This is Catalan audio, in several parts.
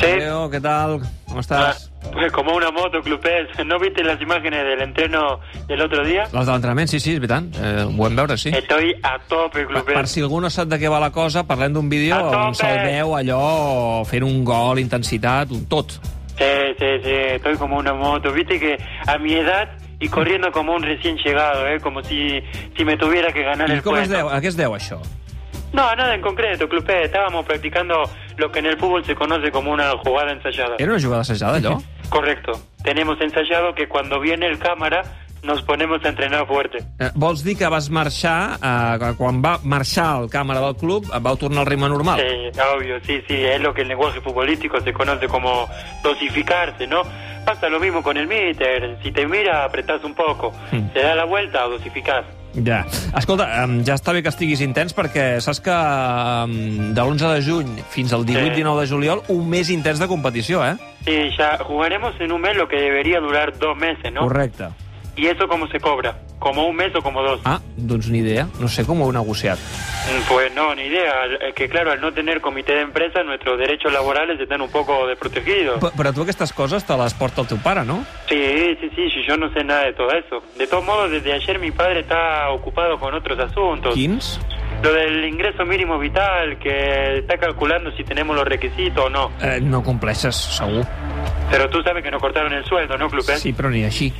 Leo, ¿qué tal? ¿Cómo estás? Ah, pues como una moto, clubes. ¿No viste las imágenes del entreno del otro dia? Les de l'entrenament, sí, sí, és veritat. Eh, ho vam veure, sí. Estoy a tope, Per, per clubes. si algú no sap de què va la cosa, parlem d'un vídeo A on tope! se'l veu allò fent un gol, intensitat, un tot. Sí, sí, sí, estoy como una moto. Viste que a mi edad y corriendo como un recién llegado, ¿eh? como si, si me tuviera que ganar I el com es puesto. deu, a què es deu això? No, nada en concreto, clubes. Estábamos practicando lo que en el fútbol se conoce como una jugada ensayada. Era una jugada assajada, allò? Correcto. Tenemos ensayado que cuando viene el cámara nos ponemos a entrenar fuerte. Eh, vols dir que vas marxar, eh, que quan va marxar al càmera del club, eh, vau tornar al ritme normal? Sí, Eh, obvio, sí, sí, es lo que el lenguaje futbolístico se conoce como dosificarse, ¿no? Pasa lo mismo con el meter, si te mira apretás un poco, Mm. te da la vuelta o dosificás. Ja. Escolta, em, ja està bé que estiguis intens perquè saps que em, de l'11 de juny fins al Sí. 18-19 de juliol un mes intens de competició, eh? Sí, ya jugaremos en un mes lo que debería durar dos meses, ¿no? Correcte. ¿Y eso cómo se cobra? ¿Como un mes o como dos? Ah, doncs ni idea. No sé com ho heu negociat. Mm, Pues no, ni idea. Al- eh, Que claro, al no tener comité de empresa, nuestros derechos laborales están un poco desprotegidos. P però tu aquestes coses te les porta el teu pare, no? Sí, sí, sí, sí, yo no sé nada de todo eso. De todos modos, desde ayer mi padre está ocupado con otros asuntos. Quins? Lo del ingreso mínimo vital, que está calculando si tenemos los requisitos o no. Eh, no compleixes, segur. Pero tú sabes que nos cortaron el sueldo, ¿no, Clupe? Sí, però ni així.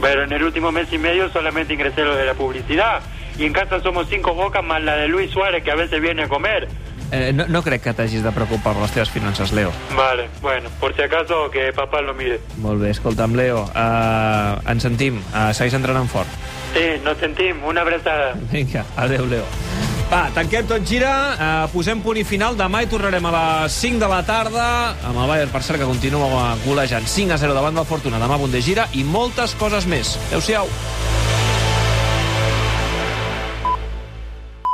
Pero en el último mes y medio solamente ingresé lo de la publicidad. Y en casa somos cinco bocas más la de Luis Suárez, que a veces viene a comer. Eh, no, no crec que t'hagis de preocupar per les teves finances, Leo. Vale, bueno, por si acaso que papá lo mire. Molt bé, escolta'm, Leo, eh, ens sentim. Eh, segueix entrenant fort. Sí, nos sentimos, una abrazada. Vinga, adeu, Leo. Va, tanquem tot gira, eh, posem punt i final. Demà hi tornarem a les 5 de la tarda amb el Bayern, per cert, que continua golejant 5 a 0 davant del Fortuna. Demà, bon de gira i moltes coses més. Adéu-siau.